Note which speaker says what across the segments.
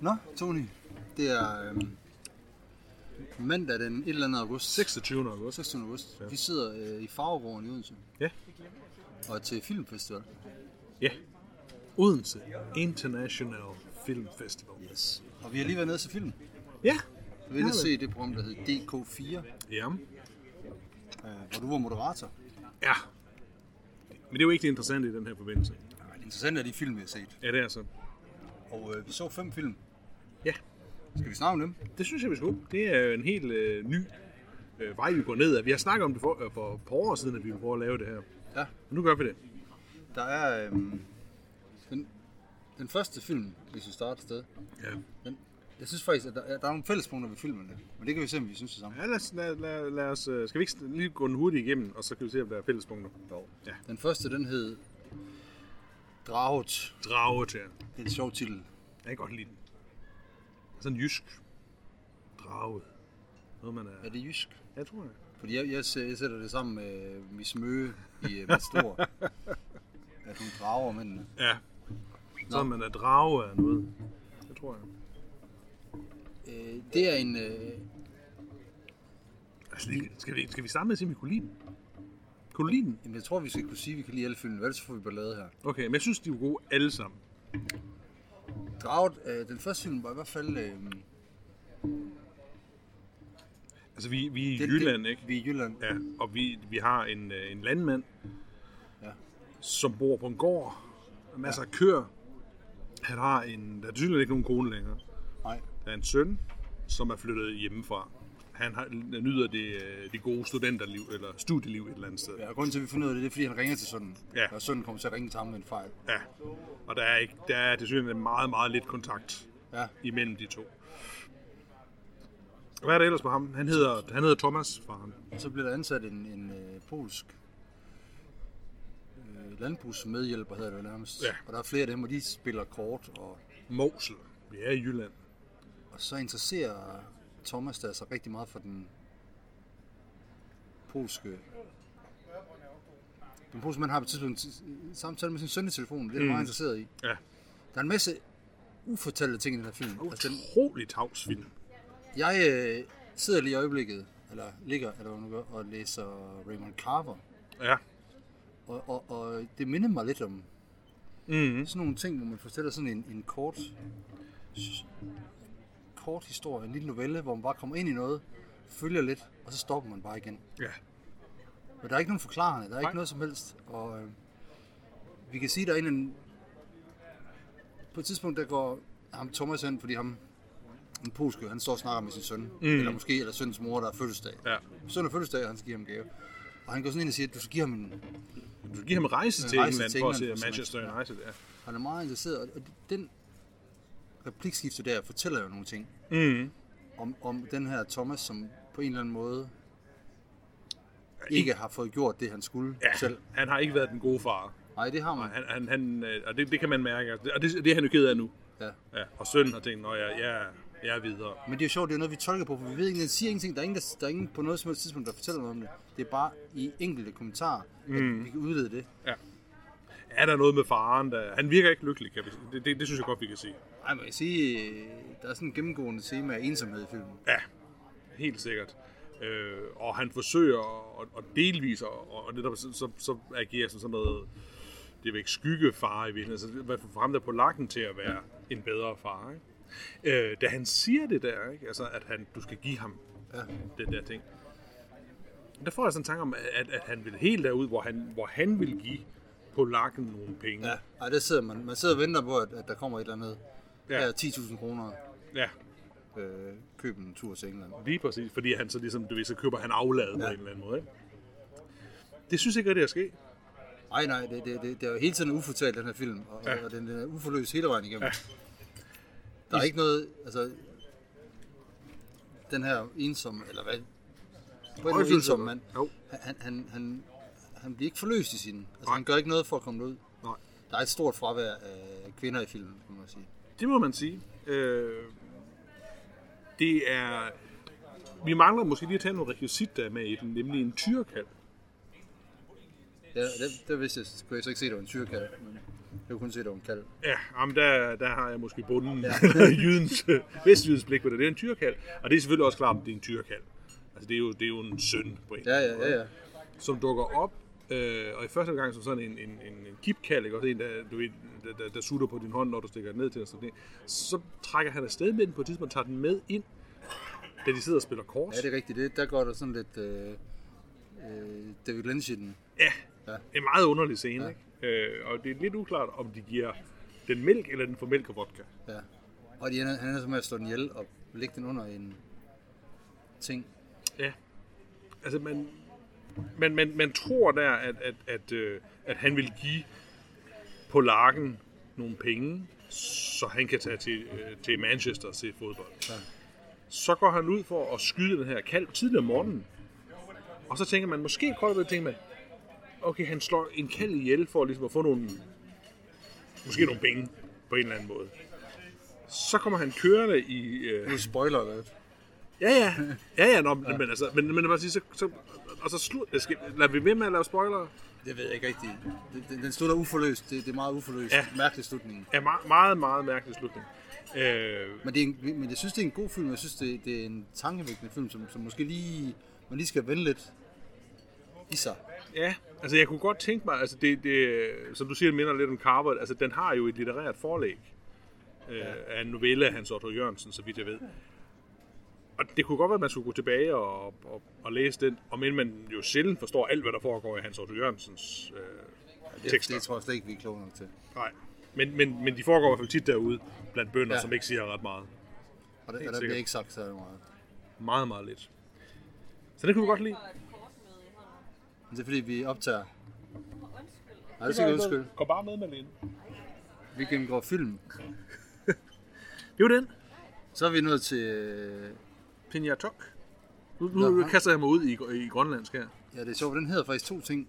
Speaker 1: Nå, Tony. Det er øhm, mandag den et eller andet august.
Speaker 2: 26. august.
Speaker 1: 26. august. Ja. Vi sidder øh, i Farvegården i Odense.
Speaker 2: Ja.
Speaker 1: Og til filmfestival.
Speaker 2: Ja. Odense International Film Festival.
Speaker 1: Yes. Og vi har lige været nede til film.
Speaker 2: Ja.
Speaker 1: Vi har
Speaker 2: Ja,
Speaker 1: se det program, der hedder DK4,
Speaker 2: Ja.
Speaker 1: øh, hvor du var moderator.
Speaker 2: Ja. Men det er jo ikke det interessante i den her forbindelse.
Speaker 1: Ja, Det interessante er de film, vi har set.
Speaker 2: Ja, det altså? er så.
Speaker 1: Og øh, vi så fem film.
Speaker 2: Ja.
Speaker 1: Skal vi snakke om dem?
Speaker 2: Det synes jeg, vi skulle. Det er jo en helt øh, ny øh, vej, vi går ned ad. Vi har snakket om det for, øh, for et par år siden, at vi ville prøve at lave det her.
Speaker 1: Ja.
Speaker 2: Men nu gør vi det.
Speaker 1: Der er øhm, den, den første film, hvis vi starter et sted.
Speaker 2: Ja.
Speaker 1: Den, jeg synes faktisk, at der, der er nogle fællespunkter ved filmene. Men det kan vi se, om vi synes det samme.
Speaker 2: Ja, lad os, lad, lad, lad os, øh, skal vi ikke lige gå den hurtigt igennem, og så kan vi se, om der er fællespunkter? Jo. Ja.
Speaker 1: Den første, den hed Draget.
Speaker 2: Draget, ja.
Speaker 1: Det er en sjov titel.
Speaker 2: Jeg kan godt lide den. Sådan jysk. Draget. Noget, man er...
Speaker 1: Er det jysk?
Speaker 2: Jeg tror, jeg.
Speaker 1: Fordi jeg, jeg, sæ- jeg sætter det sammen med Miss Møge i øh, Mads Stor. at hun drager mændene.
Speaker 2: Ja. Så man er drage af noget. Det tror jeg.
Speaker 1: Øh, det er en... Øh,
Speaker 2: Altså, det- skal, vi, skal vi starte med at sige, om vi kunne lide den? Kunne du lide den?
Speaker 1: jamen, jeg tror, vi skal kunne sige, at vi kan lide alle filmene. Ellers får vi ballade her.
Speaker 2: Okay, men jeg synes, de er gode alle sammen.
Speaker 1: Draget, øh, den første film var i hvert fald... Øh,
Speaker 2: Altså, vi, vi er i
Speaker 1: den-
Speaker 2: Jylland,
Speaker 1: den-
Speaker 2: ikke?
Speaker 1: Vi er i Jylland.
Speaker 2: Ja, og vi, vi har en, øh, en landmand,
Speaker 1: Ja.
Speaker 2: som bor på en gård. Og masser af køer. Han har en... Der er tydeligvis ikke nogen kone længere.
Speaker 1: Nej.
Speaker 2: Der er en søn, som er flyttet hjemmefra. Han har, nyder det, øh, det gode studenterliv, eller studieliv et eller andet sted.
Speaker 1: Ja, og grunden til, at vi finder ud af det, det er, fordi han ringer til sønnen.
Speaker 2: Ja.
Speaker 1: Og sønnen kommer til at ringe til ham med en fejl.
Speaker 2: Ja, og der er, ikke, der er desværre meget, meget lidt kontakt
Speaker 1: Ja.
Speaker 2: imellem de to. Hvad er det ellers med ham? Han hedder, han hedder Thomas, faren.
Speaker 1: Og så bliver der ansat en, en øh, polsk øh, landbrugsmedhjælper, hedder det jo nærmest.
Speaker 2: Ja.
Speaker 1: Og der er flere af dem, og de spiller kort. Og,
Speaker 2: Mosel. Vi er i Jylland.
Speaker 1: og så interesserer Thomas der sig rigtig meget for den polske... Den polske mand har på et tidspunkt en samtale med sin søn i telefonen. Det er han meget interesseret i.
Speaker 2: Ja.
Speaker 1: Der er en masse ufortalte ting i den her film. Altså, den,
Speaker 2: Utrolig tavs film.
Speaker 1: Jeg øh, sidder lige i øjeblikket, eller ligger, eller hvad man gør, og læser Raymond Carver.
Speaker 2: Ja.
Speaker 1: Og, og, og det minder mig lidt om
Speaker 2: Mm-hmm.
Speaker 1: sådan nogle ting, hvor man fortæller sådan en, en kort, s- kort historie, en lille novelle, hvor man bare kommer ind i noget, følger lidt, og så stopper man bare igen.
Speaker 2: Ja.
Speaker 1: Men der er ikke nogen forklarende, der er
Speaker 2: Nej.
Speaker 1: ikke noget som helst. Og øh, vi kan sige, der er en, eller anden- på et tidspunkt, der går ham Thomas hen, fordi ham, en polske, han står og snakker med sin søn, mm. eller måske, eller søns mor, der er fødselsdag.
Speaker 2: Mhm. ja.
Speaker 1: søn har fødselsdag, og han skal give ham en gave. Og han går sådan ind og siger, at du skal give ham en...
Speaker 2: Du skal give ham rejse til
Speaker 1: rejse
Speaker 2: England
Speaker 1: til
Speaker 2: for at
Speaker 1: England
Speaker 2: se
Speaker 1: for at se
Speaker 2: Manchester
Speaker 1: Manchester.
Speaker 2: United. Ja.
Speaker 1: Han er meget interesseret, og- og den replikskifte der fortæller jo nogle ting Mm.
Speaker 2: Mm-hmm.
Speaker 1: om, om den her Thomas, som på en eller anden måde ikke har fået gjort det, han skulle ja. selv.
Speaker 2: ja. Han har ikke været den gode far.
Speaker 1: Nej, det har man.
Speaker 2: Han, han, han, øh, og det, det kan man mærke. altså. Og det, det er han jo ked af nu.
Speaker 1: Ja.
Speaker 2: Ja. Og sønnen har tænkt, at jeg, jeg, er- jeg er videre.
Speaker 1: Men det er jo sjovt, det er jo noget, vi tolker på, for vi ved ikke, den siger ingenting. Der er ingen, der, der er ingen på noget som helst tidspunkt, der fortæller noget om det. Det er bare i enkelte kommentarer, mm. at vi kan udlede det.
Speaker 2: er der noget med faren, der... Han virker ikke lykkelig, kan vi sige. Det, det, det synes jeg godt, vi kan sige.
Speaker 1: Ej, må jeg sige, øh, der er sådan en gennemgående tema af ensomhed i filmen.
Speaker 2: Ja, helt sikkert. Øh, og han forsøger og, og delvis, og, og netop så, så, så agerer som sådan noget... Det er jo ikke skyggefar i virkeligheden. Så hvad får ham der på lakken til at være en bedre far, ikke? Øh, da han siger det der, ikke? Altså, at han, du skal give ham
Speaker 1: Ja.
Speaker 2: den der ting. Der får jeg sådan en tanke om, at, at han vil helt derud, hvor han, hvor han vil give på lakken nogle penge.
Speaker 1: Ja, Ej, der sidder man. Man sidder og venter på, at, at der kommer et eller andet.
Speaker 2: Ja.
Speaker 1: Ja. Her er 10.000 kroner.
Speaker 2: ja.
Speaker 1: Øh, køb en tur til England.
Speaker 2: Lige præcis, fordi han så ligesom, du ved, så køber han afladet ja. på en eller anden måde. Ikke? Det synes jeg ikke rigtig er sket.
Speaker 1: Ej nej, det, det, det, det er jo hele tiden ufortalt, den her film. Og, ja. og den, den er uforløst hele vejen igennem. Ja. Der er ikke noget, altså... Den her ensomme, eller hvad? På en ensom mand.
Speaker 2: Jo.
Speaker 1: Han, han, han, han, han bliver ikke forløst i sin. Altså,
Speaker 2: Nej.
Speaker 1: han gør ikke noget for at komme ud.
Speaker 2: Nej.
Speaker 1: Der er et stort fravær af kvinder i filmen, kan man sige.
Speaker 2: Det må man sige. Øh, det er... Vi mangler måske lige at tage noget rekvisit, der er med i den, nemlig en tyrkald.
Speaker 1: Ja, det, det vidste jeg, kunne jeg så ikke se, at det var en tyrkat. Men... kunne kun se, at det var en kalv.
Speaker 2: Ja, jamen der, der har jeg måske bunden ja. jydens, øh, vestjydens blik på det. Det er en tyrkald, og det er selvfølgelig også klart, at det er en tyrkald. Altså, det er jo, det er jo en søn på en
Speaker 1: Ja, ja, ja, ja.
Speaker 2: som dukker op, øh, og i første omgang som sådan en, en, en, en kipkald, ikke? også en, der, du ved, der, der, der sutter på din hånd, når du stikker den ned til den, og sådan noget. så trækker han afsted med den på et tidspunkt, tager den med ind, da de sidder og spiller kors.
Speaker 1: Ja, det er rigtigt. Det, der går der sådan lidt øh, øh, David Lynch i den.
Speaker 2: Ja, en meget underlig scene, ja. ikke? Øh, og det er lidt uklart, om de giver den mælk, eller den får mælk og vodka.
Speaker 1: Ja. Og de ender, han ender så med at slå den ihjel og lægge den under en ting.
Speaker 2: Ja. Altså, man, man, man, man tror der, at, at, at, øh, at han vil give Polakken nogle penge, så han kan tage til, øh, til Manchester og se fodbold. Ja. Så går han ud for at skyde den her kalv tidligere om morgenen. Og så tænker man, måske koldt ved tænker man, okay, han slår en kalv ihjel for ligesom at få nogle, måske nogle penge på en eller anden måde. Så kommer han kørende i... Øh,
Speaker 1: Nu spoiler det.
Speaker 2: Ja, ja. Ja, ja, nå, men, men altså, men, men jeg må sige, så, så, og så slut, jeg skal, lader vi ved med at lave spoilere?
Speaker 1: Det ved jeg ikke rigtigt. Den, den, den slutter uforløst. Det, det er meget uforløst.
Speaker 2: Ja.
Speaker 1: Ja. Mærkelig slutning.
Speaker 2: Ja, meget, meget, meget mærkelig slutning. Øh,
Speaker 1: Men, det er en, men jeg synes, det er en god film. Jeg synes, det, det er en tankevækkende film, som, som måske lige, man lige skal vende lidt i sig.
Speaker 2: ja, altså jeg kunne godt tænke mig, altså det, det som du siger, det minder lidt om Carver, altså den har jo et litterært forlæg øh, af en novelle af Hans Otto Jørgensen, så vidt jeg ved. Og det kunne godt være, at man skulle gå tilbage og, og, og læse den, og men man jo sjældent forstår alt, hvad der foregår i Hans Otto Jørgensens øh,
Speaker 1: Det,
Speaker 2: tekster.
Speaker 1: det tror jeg slet ikke, vi er kloge nok til.
Speaker 2: Nej. Men, men, men de foregår i hvert fald tit derude, blandt bønder, ja.
Speaker 1: Ja.
Speaker 2: som ikke siger ret meget.
Speaker 1: Og der,
Speaker 2: Helt
Speaker 1: og der bliver
Speaker 2: sikkert.
Speaker 1: ikke sagt så meget.
Speaker 2: Meget, meget lidt. Så det kunne vi godt lide.
Speaker 1: Men det er fordi, vi optager. Nej, det skal ikke undskyld.
Speaker 2: Kom bare med, Malene.
Speaker 1: Vi gennemgår film.
Speaker 2: Det var den.
Speaker 1: Så er vi nået til... øh,
Speaker 2: Pinjatok. Nu, nu
Speaker 1: Nå.
Speaker 2: kaster jeg mig ud i, i grønlandsk her.
Speaker 1: Ja, det er sjovt. Den hedder faktisk to ting,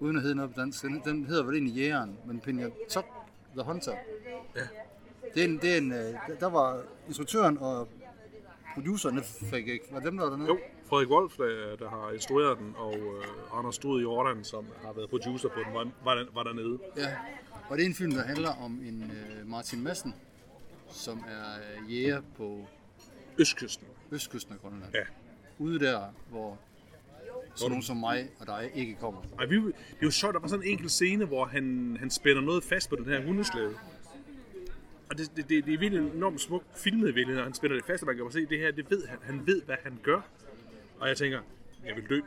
Speaker 1: uden at hedde noget på dansk. Den, den hedder vel egentlig Jægeren, men Pinja Top The Hunter.
Speaker 2: Ja.
Speaker 1: Det er en, det er en, øh, der- der var instruktøren og producerne, fik ikke? Var dem, der var dernede?
Speaker 2: Jo, Frederik Wolf, der, der har instrueret den, og øh, Anders Stud i Jordan, som har været producer på den, var, var, der- var dernede.
Speaker 1: Ja. Og det er en film, der handler om en øh, Martin Madsen, som er øh, jæger på
Speaker 2: Østkysten.
Speaker 1: østkysten af Grønland.
Speaker 2: Ja.
Speaker 1: Ude der, hvor sådan nogen som mig og dig ikke kommer.
Speaker 2: Ej, vi, det var sjovt, der var sådan en enkelt scene, hvor han, han spænder noget fast på den her hundeslæde. Og det, det, det, det er virkelig enormt smukt filmet, virkelig, når han spænder det fast, og man kan bare se, det her, det ved han. Han ved, hvad han gør. Og jeg tænker, jeg vil dø.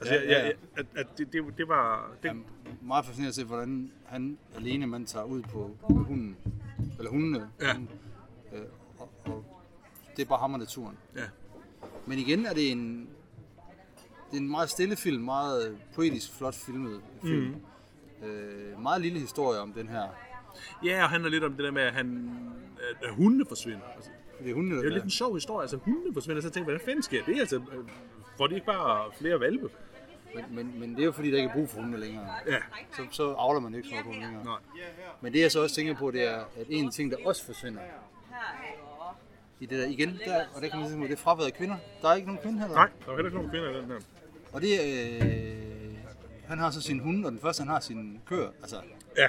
Speaker 2: Altså, ja,
Speaker 1: Ja, ja,
Speaker 2: ja, ja.
Speaker 1: ja.
Speaker 2: Jeg, at, at det, det, det var... Det,
Speaker 1: Jamen, meget fascinerende at se, hvordan han alene man tager ud på med hunden, eller hundene,
Speaker 2: Ja.
Speaker 1: Hunden. øh, og, og, det er bare ham og naturen.
Speaker 2: ja.
Speaker 1: Men igen er det en, det er en meget stille film, meget øh, poetisk, flot filmet film.
Speaker 2: Mhm.
Speaker 1: Mm. Øh, meget lille historie om den her.
Speaker 2: ja, og handler lidt om det der med, at, han, at, at hundene forsvinder. Altså,
Speaker 1: Det er hundene, der
Speaker 2: det er jo lidt
Speaker 1: bliver-
Speaker 2: en sjov historie. Altså, hundene forsvinder, så tænker jeg, hvordan fanden sker det? Altså, øh, får de ikke bare flere valpe?
Speaker 1: men, men, men, det er jo fordi, der ikke er brug for hundene længere.
Speaker 2: Ja.
Speaker 1: Så, så avler man ikke så meget på dem længere.
Speaker 2: Nej.
Speaker 1: Men det jeg så også tænker på, det er, at en ting, der også forsvinder, i det der igen, der, og det kan man ligesom, det er fraværet af kvinder. Der er ikke nogen kvinde heller.
Speaker 2: Nej, der var heller ikke nogen kvinder i den her.
Speaker 1: Og det, øh, han har så sin hund, og den første, han har sin køer. Altså,
Speaker 2: Ja,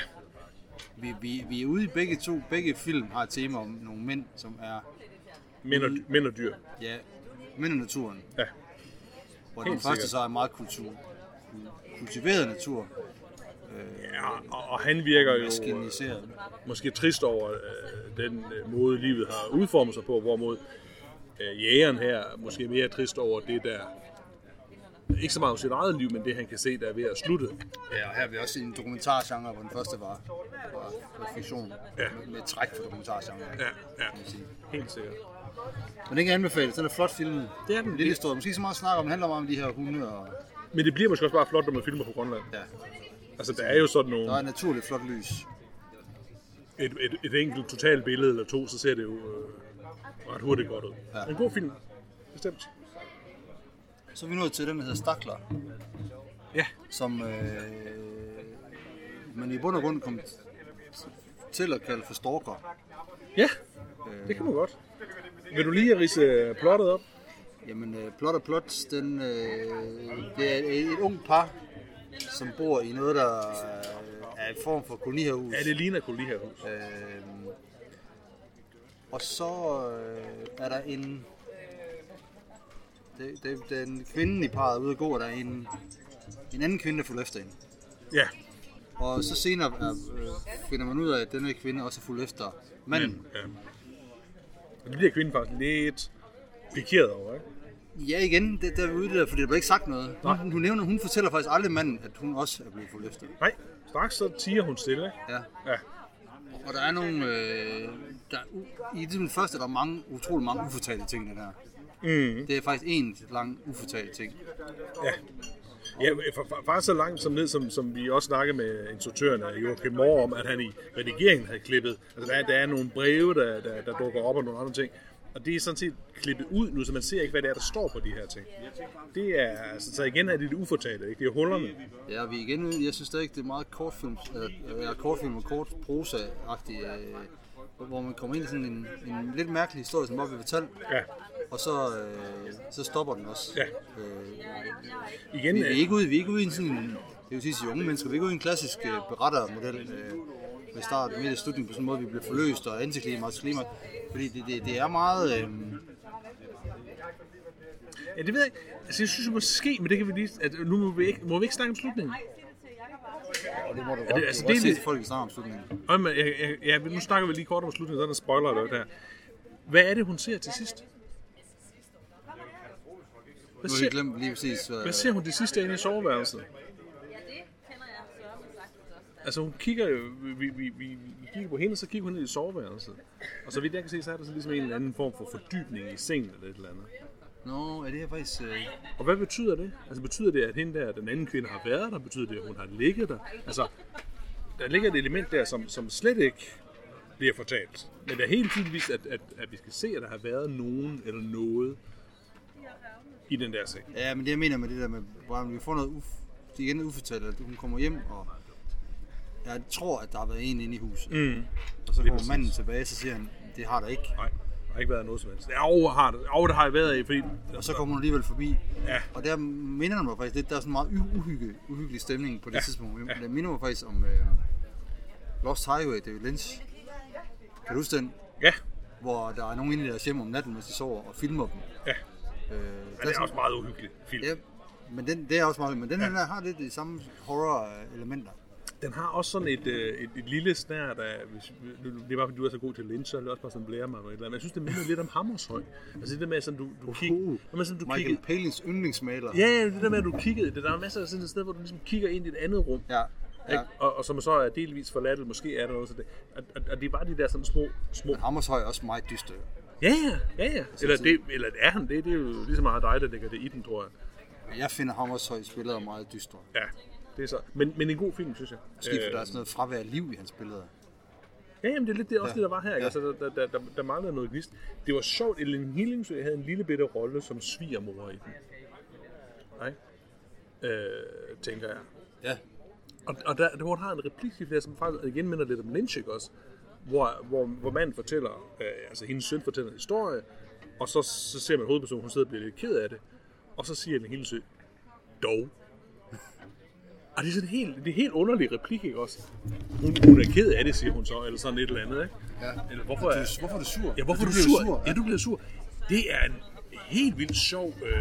Speaker 1: vi, vi, vi er ude i begge to, begge film har et tema om nogle mænd, som er,
Speaker 2: mænd og, mænd og dyr.
Speaker 1: ja, mænd og naturen.
Speaker 2: Ja.
Speaker 1: Hvor
Speaker 2: Helt
Speaker 1: den første
Speaker 2: sikkert.
Speaker 1: så er meget kultur, kultiveret natur,
Speaker 2: Ja, og, og han virker jo øh,
Speaker 1: maskuliniseret.
Speaker 2: måske trist over øh, den øh, måde, livet har udformet sig på, hvorimod øh, jægeren her måske mere er trist over det, der ikke så meget om sit eget liv, men det, han kan se, der er ved at slutte.
Speaker 1: Ja, og her er vi også i en dokumentargenre, hvor den første var, var, var fiktion,
Speaker 2: Ja.
Speaker 1: med, med træk for dokumentargenre.
Speaker 2: Ja, ja.
Speaker 1: man sige.
Speaker 2: Helt sikkert.
Speaker 1: Men den kan anbefales, den er flot filmet.
Speaker 2: Det er den.
Speaker 1: Lille historie, måske ikke så meget snak om, den handler meget om de her hunde, og
Speaker 2: Men det bliver måske også bare flot, når man filmer på Grønland.
Speaker 1: ja,
Speaker 2: Altså, der er jo sådan
Speaker 1: der er
Speaker 2: nogle,
Speaker 1: et naturligt flot lys.
Speaker 2: et, et, et enkelt totalt billede eller to, så ser det jo øh, ret hurtigt godt ud.
Speaker 1: Ja.
Speaker 2: En god film, bestemt.
Speaker 1: Så er vi nået til den, der hedder Stakler,
Speaker 2: Ja,
Speaker 1: som øh, man i bund og grund kom til at kalde for stalker.
Speaker 2: ja. det kan man godt. Vil du lige rise plottet op?
Speaker 1: Jamen, øh, plot og plot, den, øh, det er et, et ung par, som bor i noget, der øh, er en form for kolonihavehus.
Speaker 2: Ja, det ligner kolonihavehus.
Speaker 1: Øh, og så øh, er der en... Det, det, den kvinde i parret er ude at gå, og der er en, en anden kvinde, der fulgte efter hende.
Speaker 2: Ja,
Speaker 1: Og så senere er, øh, finder man ud af, at den her kvinde også er fulgt efter manden.
Speaker 2: men... Ja. Og det bliver kvinden faktisk lidt pikeret over, ikke?
Speaker 1: Ja, igen, det, der er vi ude i det der, fordi der blev ikke sagt noget. Hun, hun, nævner, hun fortæller faktisk aldrig manden, at hun også er blevet fulgt efter.
Speaker 2: Nej, straks så tiger hun stille, ikke?
Speaker 1: Ja.
Speaker 2: Ja,
Speaker 1: Og der er nogle... Øh, der, u- I den første der er der mange, utrolig mange ufortalte ting, i den her. Mm. Det er faktisk en lang ufortalt ting.
Speaker 2: ja. Ja, for, for, faktisk så langt som ned, som, som vi også snakkede med instruktøren af Joachim Moore om, at han i redigeringen havde klippet. Altså, der, er- der er nogle breve, der, der, der dukker op og nogle andre ting. Og det er sådan set klippet ud nu, så man ser ikke, hvad det er, der står på de her ting. Det er, altså, så igen er det det ufortalte, ikke? Det er hullerne.
Speaker 1: Ja, vi er igen ude. Jeg synes stadig, det er meget kortfilm, øh, ja, kortfilm og kort prosa-agtigt, øh, hvor man kommer ind i sådan en, en lidt mærkelig historie, som bare bliver fortalt,
Speaker 2: Ja,
Speaker 1: og så, øh, så stopper den også.
Speaker 2: Ja.
Speaker 1: Øh,
Speaker 2: igen,
Speaker 1: vi, vi, er
Speaker 2: øh,
Speaker 1: ikke ude, vi er ikke ude i en sådan, det vil sige til unge mennesker, vi er ikke ude i en klassisk øh, berettermodel, øh, med start, midt og slutning på sådan en måde, vi bliver forløst og antiklimaks, klimaks, fordi det, det, det er meget... Øh,
Speaker 2: ja, det ved jeg ikke. Altså, jeg synes måske, men det kan vi lige... At nu må vi ikke, må vi ikke snakke om slutningen.
Speaker 1: og det må du godt,
Speaker 2: det-
Speaker 1: det,
Speaker 2: altså,
Speaker 1: altså,
Speaker 2: det
Speaker 1: det,
Speaker 2: er
Speaker 1: se,
Speaker 2: lidt-
Speaker 1: til folk i snart om slutningen.
Speaker 2: Øj, men jeg, jeg, jeg, nu snakker vi lige kort om slutningen, så er der en spoiler alert her. Hvad er det, hun ser til sidst? Hvad
Speaker 1: Nu har jeg
Speaker 2: ser,
Speaker 1: glemt lige præcis, hvad,
Speaker 2: hvad ser hun det sidste inde i soveværelset?
Speaker 3: Ja, det kender jeg sørme sagtens også.
Speaker 2: Altså hun kigger jo, vi, vi, vi, vi kigger på hende, og så kigger hun ned i soveværelset. Og så vidt jeg kan se, så er der sådan ligesom en eller anden form for fordybning i sengen eller et eller andet.
Speaker 1: Nå, er det her faktisk... Øh,
Speaker 2: Og hvad betyder det? Altså betyder det, at hende der, den anden kvinde, har været der? Betyder det, at hun har ligget der? Altså, der ligger et element der, som, som slet ikke bliver fortalt. Men det er helt tydeligvis, at, at, at vi skal se, at der har været nogen eller noget i den der seng.
Speaker 1: Ja, men det jeg mener med det der med Brian, vi får noget uf, det er igen ufortalt, at hun kommer hjem, og jeg tror, at der har været en inde i huset. Mm. Og så kommer
Speaker 2: præcis.
Speaker 1: manden tilbage, så siger han, det har der ikke.
Speaker 2: Nej, der har ikke været noget som helst. Ja, over har det, over, det har jeg været i, fordi...
Speaker 1: Og så kommer hun alligevel forbi.
Speaker 2: Ja.
Speaker 1: Og der minder den mig faktisk lidt, der er sådan en meget u- uhygge, uhyggelig stemning på det ja. tidspunkt. Det minder mig faktisk om øh, Lost Highway, David Lynch. Kan du huske den?
Speaker 2: Ja,
Speaker 1: Hvor der er nogen inde i deres hjem om natten, mens de sover, og filmer dem.
Speaker 2: ja.
Speaker 1: Øh,
Speaker 2: Men det er også meget uhyggeligt film.
Speaker 1: ja, men den, det er også meget, men den her har lidt de samme horror-elementer.
Speaker 2: Den har også sådan et, øh, et, et lille snært af, hvis, nu- nu- det er bare fordi du er så god til Lynch, så er det også bare sådan blære mig eller et eller andet. Jeg synes, det minder lidt om Hammershøj. Altså det der med, at sådan, du, du, kig, det der med, sådan, du
Speaker 1: Michael
Speaker 2: kiggede,
Speaker 1: Palins yndlingsmaler.
Speaker 2: ja, ja, det der med, at du kiggede, det der er masser af sådan et sted, hvor du ligesom kigger ind i et andet rum,
Speaker 1: Ja, ja.
Speaker 2: ikke? Og, og, som så er delvis forladt, eller måske er der noget, så det, og, og, og, det er bare de der sådan små, små
Speaker 1: Hammershøj er også meget dyster.
Speaker 2: ja, ja, ja, Altså, ja. Eller, det, eller er han det? Det er jo lige så meget dig, der lægger det i den, tror jeg.
Speaker 1: Jeg finder Hammershøj spillere meget dystre.
Speaker 2: Ja, det er så. Men, men en god film, synes jeg.
Speaker 1: Måske
Speaker 2: Øh.
Speaker 1: fordi der er sådan noget fravær af liv i hans billeder.
Speaker 2: Ja, jamen, det er lidt det, også ja.
Speaker 1: Ja.
Speaker 2: det, der var her. Ikke?
Speaker 1: Ja.
Speaker 2: Altså, der, der, der, der, der manglede noget gnist. Det var sjovt, at Ellen Hillingsø havde en lille bitte rolle som svigermor i den. Nej? Øh, tænker jeg.
Speaker 1: Ja.
Speaker 2: Og, og der, der, hvor hun har en replik i det, som faktisk igen minder lidt om Lynch, ikke også? Hvor, hvor, hvor manden fortæller, øh, altså hendes søn fortæller en historie, og så, så ser man hovedpersonen, hun sidder og bliver lidt ked af det, og så siger Ellen Hillingsø, dog. Og det er sådan en helt, det er en helt underlig replik, ikke også? Hun, hun er ked af det, siger hun så, eller sådan et eller andet, ikke?
Speaker 1: Ja.
Speaker 2: Eller hvorfor er,
Speaker 1: Hvorfor er du sur?
Speaker 2: ja, hvorfor er du
Speaker 1: bliver
Speaker 2: sur?
Speaker 1: jo
Speaker 2: Ja, du bliver sur. Det er en helt vildt sjov, øh,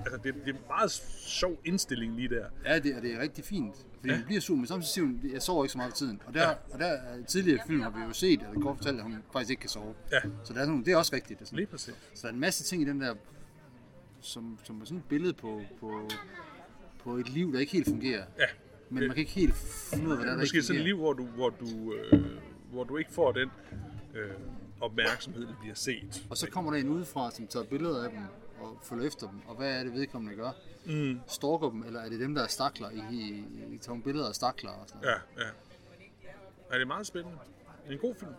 Speaker 2: altså det, det er en meget sjov indstilling lige der.
Speaker 1: Ja, det, og det er rigtig fint. Fordi ja. hun bliver sur, men samtidig siger hun, jeg sover ikke så meget for tiden. Og der, ja. og der øh, tidligere film har vi jo set, at kort fortalt, at hun faktisk ikke kan sove.
Speaker 2: Ja.
Speaker 1: Så der er sådan, det er også rigtigt. Det er sådan,
Speaker 2: Lige præcis.
Speaker 1: Så der er en masse ting i den der, som, som er sådan et billede på, på, på et liv, der ikke helt fungerer.
Speaker 2: Ja.
Speaker 1: Men man kan ikke helt finde ud af, hvordan det
Speaker 2: Måske
Speaker 1: ikke
Speaker 2: sådan et
Speaker 1: fungerer.
Speaker 2: liv, hvor du, hvor du, øh, hvor du ikke får den øh, opmærksomhed, der bliver set.
Speaker 1: Og så kommer der en udefra, som tager billeder af dem og følger efter dem. Og hvad er det vedkommende gør? Mm. Stalker dem, eller er det dem, der er stakler? I, i, I tager nogle billeder af stakler og sådan noget.
Speaker 2: Ja, ja. Ja, det er meget spændende. En god film.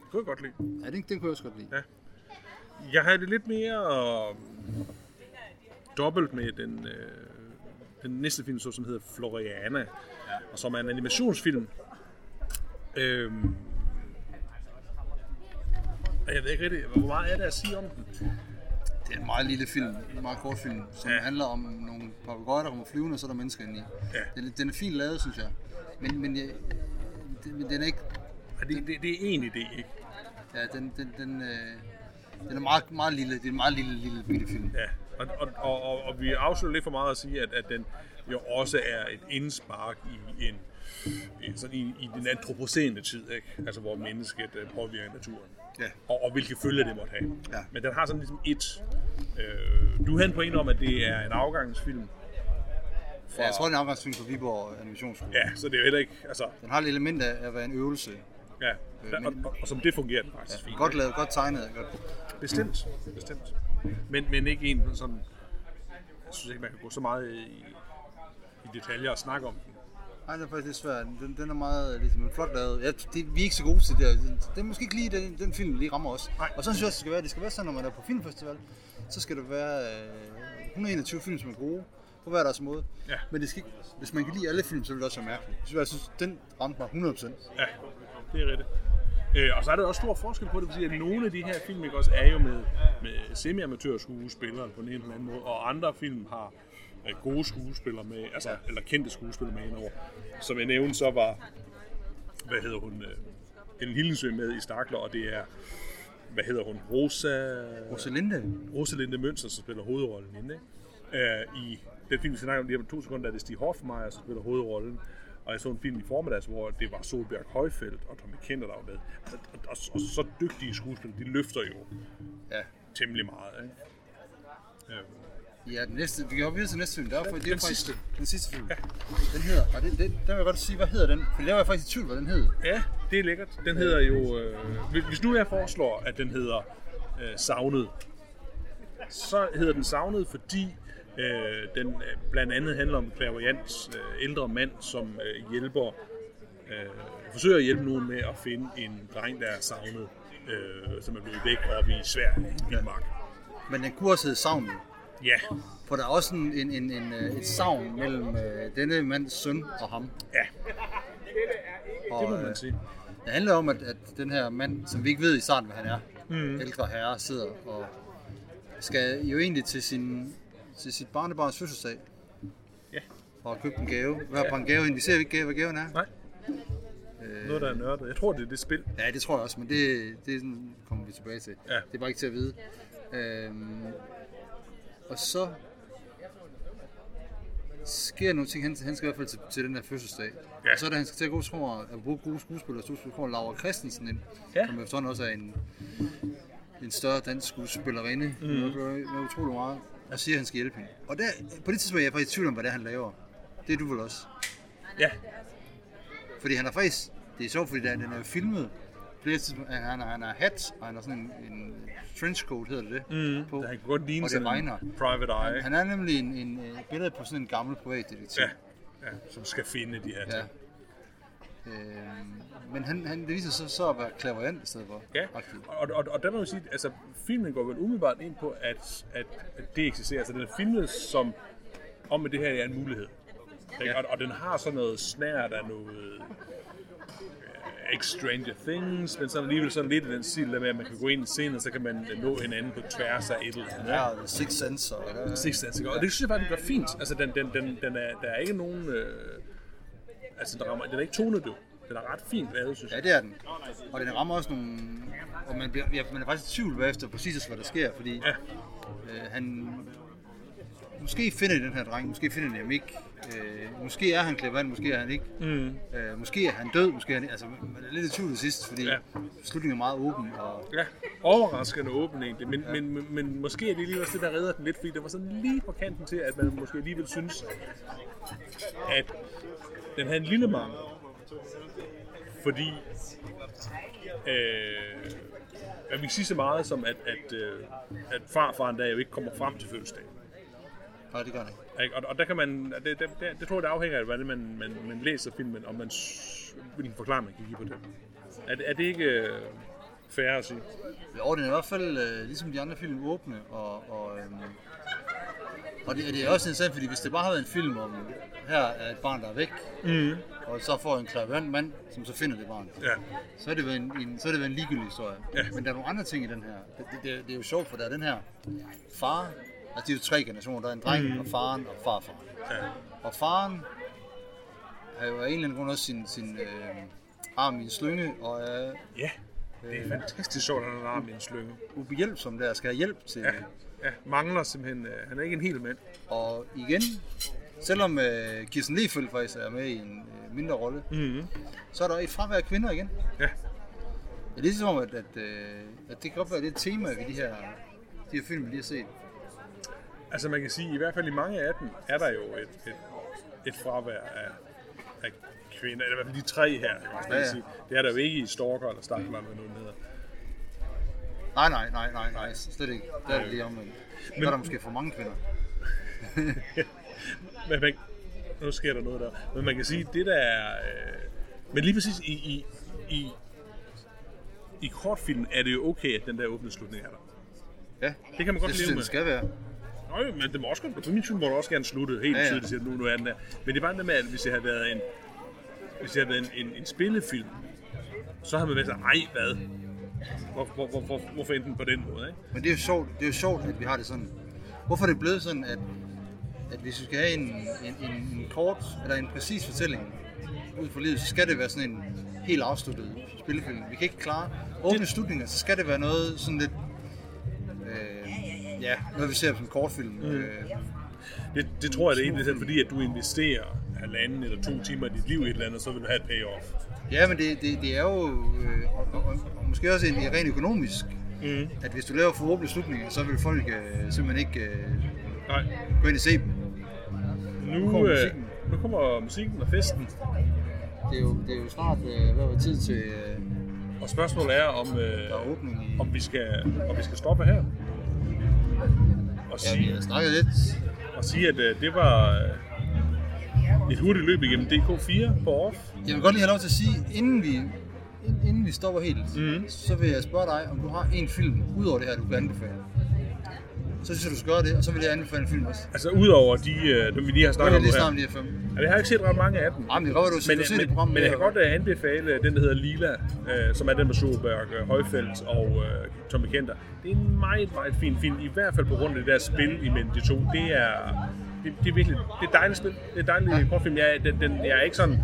Speaker 2: Det kunne jeg godt lide.
Speaker 1: Ja. ja den, den kunne jeg også godt lide.
Speaker 2: Ja. Jeg havde det lidt mere øh, dobbelt med den, øh, den næste film, så, som hedder Floriana, ja. og som er en animationsfilm. Øhm, og jeg ved ikke rigtig, hvor meget er der at sige om den?
Speaker 1: Det er en meget lille film, en meget kort film, som
Speaker 2: Ja.
Speaker 1: ja. handler om nogle papegøjer, der kommer flyvende, og så er der mennesker inde i.
Speaker 2: Ja.
Speaker 1: Den, den er fint lavet, synes jeg. Men, men, jeg, den, men den er ikke...
Speaker 2: Ja, det, det, det er en idé, ikke?
Speaker 1: Ja, den, den, den, øh, den er meget, meget lille. Det er en meget lille, lille bitte film.
Speaker 2: Ja, og, og, og, og, og vi afslører lidt for meget at sige, at, at den jo også er et indspark i en i- sådan i, i den antropocene tid, ikke? Altså, hvor mennesket øh, påvirker naturen.
Speaker 1: Ja.
Speaker 2: Og, og hvilke følger det måtte have.
Speaker 1: Ja.
Speaker 2: Men den har sådan ligesom et... Øh, du havde en pointe om, at det er en afgangsfilm.
Speaker 1: ja jeg tror, det er en afgangsfilm fra Viborg Animationsskole.
Speaker 2: Ja, så det er jo heller ikke... Altså,
Speaker 1: Den har et element af at være en øvelse.
Speaker 2: ja. Der, og,
Speaker 1: men-
Speaker 2: og, og, som det fungerer den faktisk fint.
Speaker 1: Godt lavet, godt tegnet. Godt.
Speaker 2: Bestemt, bestemt. Men, men ikke en sådan... Jeg synes ikke, man kan gå så meget i, i detaljer og snakke om den.
Speaker 1: Nej, det er faktisk lidt svært. Den, den er meget ligesom, en flot lavet. Ja, det, vi er ikke så gode til det. der. Det er måske ikke lige den, den film, der lige rammer os.
Speaker 2: Nej.
Speaker 1: Og sådan synes jeg også, det skal være. Det skal være sådan, når man er på filmfestival, så skal der være øh, 121 film, som er gode på hver deres måde.
Speaker 2: Ja.
Speaker 1: Men det skal, ikke- hvis man kan lide alle film, så vil det også være mærkeligt. Så jeg synes, den ramte mig 100%.
Speaker 2: Ja, det er rigtigt. Øh, og så er der også stor forskel på det, fordi at nogle af de her film ikke, også er jo med, med semi-amatør skuespillere på den ene eller den anden måde, og andre film har øh, gode skuespillere med, altså, eller kendte skuespillere med indover. Som jeg nævnte, så var, hvad hedder hun, øh, Ellen Hillensø med i Stakler, og det er, hvad hedder hun, Rosa...
Speaker 1: Rosalinde,
Speaker 2: Rosalinde Mønster, som spiller hovedrollen inde, ikke? Øh, i den film, vi snakker om lige om to sekunder, er det Stig Hoffmeier, som spiller hovedrollen. Og jeg så en film i formiddags, hvor det var Solbjerg Højfeldt og Tommy Kenter, der var med. Altså, og, og, og, så dygtige skuespillere, de løfter jo
Speaker 1: Ja.
Speaker 2: temmelig meget. Ikke? Øh,
Speaker 1: Ja, den næste. Vi kan hoppe videre til næste film. Der er, for, det er
Speaker 2: Den
Speaker 1: faktisk,
Speaker 2: sidste.
Speaker 1: Den sidste film. Den hedder, og det, det, der vil jeg godt sige, hvad hedder den? For der var jeg faktisk i tvivl, hvad den hed.
Speaker 2: ja, det er lækkert. Den hedder jo... Øh, hvis- hvis nu jeg foreslår, at den hedder øh, Savnet, så hedder den Savnet, fordi øh, den øh, blandt andet handler om Clairvoyants øh, ældre mand, som øh, hjælper øh, forsøger at hjælpe nogen med at finde en dreng, der er savnet, øh, som er blevet væk oppe i Sverige, i Vildmark.
Speaker 1: Men den kunne også hedde Savnet.
Speaker 2: Ja,
Speaker 1: For der er også en, en, en, en, øh, et savn mellem øh, denne mands søn og ham.
Speaker 2: ja,
Speaker 1: Og,
Speaker 2: det må
Speaker 1: øh,
Speaker 2: man sige.
Speaker 1: det handler om, at, at den her mand, som vi ikke ved i starten, hvad han er, mm. ældre herre, sidder og skal jo egentlig til, sin, til sit barnebarns fødselsdag
Speaker 2: Ja.
Speaker 1: og købe en gave. Hvad er en gave? egentlig? Vi ser ikke, hvad gaven er.
Speaker 2: Nej.
Speaker 1: øh,
Speaker 2: Noget, der er nørdet. Jeg tror, det er det spil.
Speaker 1: Ja, det tror jeg også, men det, det er sådan- kommer vi tilbage til.
Speaker 2: Ja.
Speaker 1: Det er bare ikke til at vide. Øhm, og så sker nogle ting. Han, han skal i hvert fald til, til den her fødselsdag.
Speaker 2: Ja.
Speaker 1: Og så er det, han skal til at gå, tror jeg, at bruge gode skuespillere. Så kommer Laura Christensen ind,
Speaker 2: Ja.
Speaker 1: som efterhånden også er en, en større dansk skuespillerinde. Mm. Med utrolig meget. Og siger, at han skal hjælpe hende. Og der, på det tidspunkt er jeg faktisk i tvivl om, hvad det er, han laver. Det er du vel også.
Speaker 2: Ja,
Speaker 1: Fordi han har faktisk, det er sjovt, fordi der- den er jo filmet flere tidspunkter. Han, han, har- han har hat, og han har sådan en, en trenchcoat, hedder det det, mm, på.
Speaker 2: der kan godt ligne
Speaker 1: og det
Speaker 2: sådan
Speaker 1: regner.
Speaker 2: en private eye,
Speaker 1: Han er nemlig en, en, øh, et billede på sådan en gammel privatdetektiv.
Speaker 2: ja, ja, som skal finde de her ting.
Speaker 1: Øhm, men han, han, det viser sig så at være klaverant i stedet for.
Speaker 2: Ja,
Speaker 1: Agtigt.
Speaker 2: og, og, og der må man sige, at altså, filmen går vel umiddelbart ind på, at, at, at det eksisterer. Altså, den er filmet som om, at det her er en mulighed. Ja. Og, og den har sådan noget snært af noget... øh, Ikke Stranger Things, men sådan alligevel sådan lidt i den stil, der med, at man kan gå ind i scenen, og så kan man øh, nå hinanden på tværs af et eller andet.
Speaker 1: Ja,
Speaker 2: Ja.
Speaker 1: og Six Sense og der,
Speaker 2: Six Sense, ikke? og det synes jeg faktisk, den gør fint. Altså, den, den, den, den er, der er ikke nogen... Øh, altså, den, rammer, den er ikke tonedøv. Den er ret fint lavet, synes jeg.
Speaker 1: Ja, det er den. Og den rammer også nogle... Og man, bliver, ja, man er faktisk i tvivl bagefter præcis, hvad der sker, fordi ja. øh, han... Måske finder de den her dreng, måske finder de ham ikke. Øh, måske er han klevand, måske er han ikke. Mm. Øh, måske er han død, måske er han ikke. Altså, man er lidt i tvivl til sidst, fordi
Speaker 2: Ja.
Speaker 1: ja. slutningen er meget åben. Og,
Speaker 2: Ja, overraskende åben egentlig, men, ja. men, men, men måske er det lige også det, der redder den lidt, fordi det var sådan lige på kanten til, at man måske alligevel synes, at den havde en lille mangel. Fordi, øh, jeg vil ikke sige så meget som, at, at, øh, at farfaren der jo ikke kommer frem til fødselsdagen.
Speaker 1: nej, det gør han ikke.
Speaker 2: Ikke? Og, og der kan man, og det, det, det, det tror jeg, det afhænger af, hvordan man, man, man læser filmen, og man, s- hvilken forklaring man kan give på det. Er, det- er det ikke øh, fair at sige?
Speaker 1: Jo, den er i hvert fald øh, ligesom de andre film åbne, og, og, øhm, og det, det er også interessant, fordi hvis det bare havde været en film om, her er et barn, der er væk, mm. og så får en klaverant mand, som så finder det barn,
Speaker 2: Ja.
Speaker 1: så har det været en, en, så har det været en ligegyldig historie. Ja. Men der er nogle andre ting i den her. Det, det, det, det er jo sjovt, for der er den her far, altså det er jo tre generationer, der er en dreng, mm. og faren og farfaren.
Speaker 2: Ja.
Speaker 1: Og faren, har jo af en eller anden grund også sin, sin øh, arm i en slynge, og er
Speaker 2: Ja,
Speaker 1: Øh.
Speaker 2: det er fantastisk sjovt, at han har en arm i en slynge.
Speaker 1: ubehjælpsom der, skal have hjælp til. øh,
Speaker 2: Ja, ja, mangler simpelthen. øh, Han er ikke en hel mand.
Speaker 1: Og igen, selvom øh, Kirsten Lefeldt faktisk er med i en øh, mindre rolle,
Speaker 2: Mm-hmm.
Speaker 1: så er der et fravær af kvinder igen.
Speaker 2: Ja,
Speaker 1: Det er lidt som om, at, at, øh, at det kan godt være lidt tema ved de her, de her film, vi lige har set.
Speaker 2: altså man kan sige, i hvert fald i mange af dem, er der jo et, et, et fravær af, af kvinder. Eller i hvert fald de tre her. kan man
Speaker 1: Ja, ja.
Speaker 2: sige. Det er der jo ikke i Stalker eller Stakler, eller hvad nu den hedder.
Speaker 1: Nej, nej, nej, nej, nej, slet ikke. Der er det lige omvendt. Men... Der er der måske for mange kvinder.
Speaker 2: Men man, nu sker der noget der. Men man kan sige, det der er... Øh, men lige præcis i, i, i, i kortfilmen er det jo okay, at den der åbne slutning er der.
Speaker 1: Ja,
Speaker 2: Det kan man godt
Speaker 1: det
Speaker 2: leve
Speaker 1: synes jeg,
Speaker 2: med.
Speaker 1: det skal være.
Speaker 2: Nå, jo, men det må også godt, for min film må du også gerne slutte helt
Speaker 1: Ja,
Speaker 2: ja,
Speaker 1: ja.
Speaker 2: ja. tydeligt, at nu, nu er den der. Men det var det med, at hvis det havde været en, hvis det havde været en, en, en spillefilm, så havde man været sådan, ej hvad? Hvor, hvor, hvor, hvor, hvorfor endte den på den måde, ikke?
Speaker 1: Men det er jo sjovt, det er jo sjovt at vi har det sådan. Hvorfor er det blevet sådan, at, at hvis vi skal have en, en, en, en kort eller en præcis fortælling ud for livet, så skal det være sådan en helt afsluttet spillefilm. Vi kan ikke klare åbne det... slutninger, så skal det være noget sådan lidt... Øh, ja, noget vi ser som kortfilm. Mm. Øh,
Speaker 2: Det, det tror jeg, det er egentlig selv, fordi at du investerer halvanden eller to timer af dit liv i et eller andet, så vil du have et payoff.
Speaker 1: ja, men det, det, det er jo... Øh, og, og, og måske også en, rent økonomisk,
Speaker 2: Mm.
Speaker 1: at hvis du laver for åbne slutninger, så vil folk øh, simpelthen ikke øh,
Speaker 2: Nej,
Speaker 1: gå ind og se dem. Nu kommer
Speaker 2: nu, kommer
Speaker 1: musikken.
Speaker 2: øh, nu kommer musikken og festen,
Speaker 1: Det er jo, det er jo snart øh, hvad var tid til... Øh,
Speaker 2: og spørgsmålet er, om,
Speaker 1: Der er
Speaker 2: øh,
Speaker 1: åbning i...
Speaker 2: om, vi, skal, om vi skal stoppe her. Og
Speaker 1: Ja,
Speaker 2: sige,
Speaker 1: vi har snakket lidt.
Speaker 2: og sige, at øh, det var øh, et hurtigt løb igennem DK4 på off.
Speaker 1: Jeg vil godt lige have lov til at sige, inden vi, ind- inden vi stopper helt,
Speaker 2: Mhm.
Speaker 1: så vil jeg spørge dig, om du har en film ud over det her, du kan anbefale. Så synes jeg, du skal gøre det, og så vil jeg anbefale en film også.
Speaker 2: Altså udover de, øh, dem vi lige
Speaker 1: Nu
Speaker 2: har
Speaker 1: er
Speaker 2: snakket
Speaker 1: det
Speaker 2: om nu
Speaker 1: lige snart om
Speaker 2: her.
Speaker 1: de her fem.
Speaker 2: Ja, det har jeg ikke set ret mange af dem.
Speaker 1: Jamen, det kan godt være, du
Speaker 2: Men,
Speaker 1: har set det
Speaker 2: men,
Speaker 1: program.
Speaker 2: men jeg kan godt øh, anbefale den, der hedder Lila, øh, som er den med Solberg, øh, Højfeldt og øh, Tommy Kenter. Det er en meget, meget fin film, i hvert fald på grund af det der spil imellem de to. Det er, det, det er virkelig det er dejligt spil. Det er dejligt ja. kortfilm. Jeg, er- den, den, jeg er ikke sådan,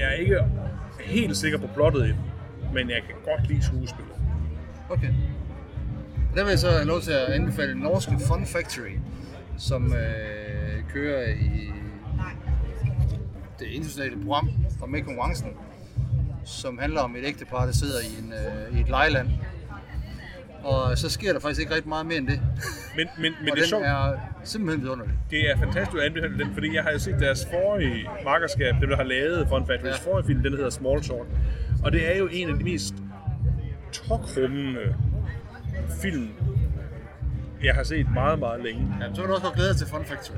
Speaker 2: jeg er ikke helt sikker på plottet i den, men jeg kan godt lide skuespillet.
Speaker 1: Okay. Der vil jeg så have lov til at anbefale den norske Fun Factory, som øh, kører i det internationale program og med konkurrencen, som handler om et ægtepar, der sidder i, en, øh, i et lejeland. Og så sker der faktisk ikke rigtig meget mere end det.
Speaker 2: Men, men, men
Speaker 1: og
Speaker 2: det er
Speaker 1: den
Speaker 2: sjovt.
Speaker 1: er simpelthen vidunderlig.
Speaker 2: Det er fantastisk, at anbefale den, fordi jeg har jo set deres forrige markerskab, dem der har lavet Fun Factory's
Speaker 1: Ja.
Speaker 2: ja. forrige film, den hedder Small Talk. Og det er jo en af de mest tokrummende film, jeg har set meget, meget længe.
Speaker 1: Jamen, så vil du også godt glæde dig til Fun Factory.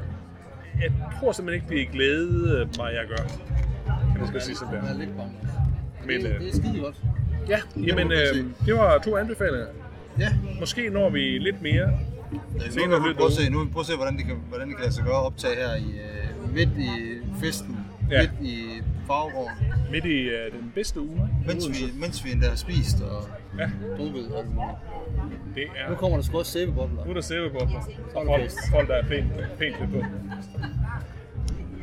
Speaker 2: Jeg tror simpelthen ikke, det er glæde mig, jeg gør. Kan man skal sige sådan
Speaker 1: Jeg er
Speaker 2: der.
Speaker 1: lidt bange.
Speaker 2: Men,
Speaker 1: det,
Speaker 2: øh,
Speaker 1: det er skide godt.
Speaker 2: Ja, jamen, øh, det var to anbefalinger.
Speaker 1: Ja,
Speaker 2: Måske når vi lidt mere.
Speaker 1: Nu vil vi prøve at se, nu vil vi prøve at se hvordan, det kan, hvordan det kan lade sig gøre at optage her i, øh, midt i festen, ja.
Speaker 2: Ja.
Speaker 1: midt i farvegården,
Speaker 2: Midt i øh, den bedste uge.
Speaker 1: mens vi, mens vi endda har spist og
Speaker 2: Ja,
Speaker 1: drukket. Og alt muligt.
Speaker 2: det er...
Speaker 1: nu kommer der sgu også sæbebobler.
Speaker 2: Nu er der sæbebobler, og
Speaker 1: er der
Speaker 2: folk,
Speaker 1: fest.
Speaker 2: folk der er pænt, pænt lidt på.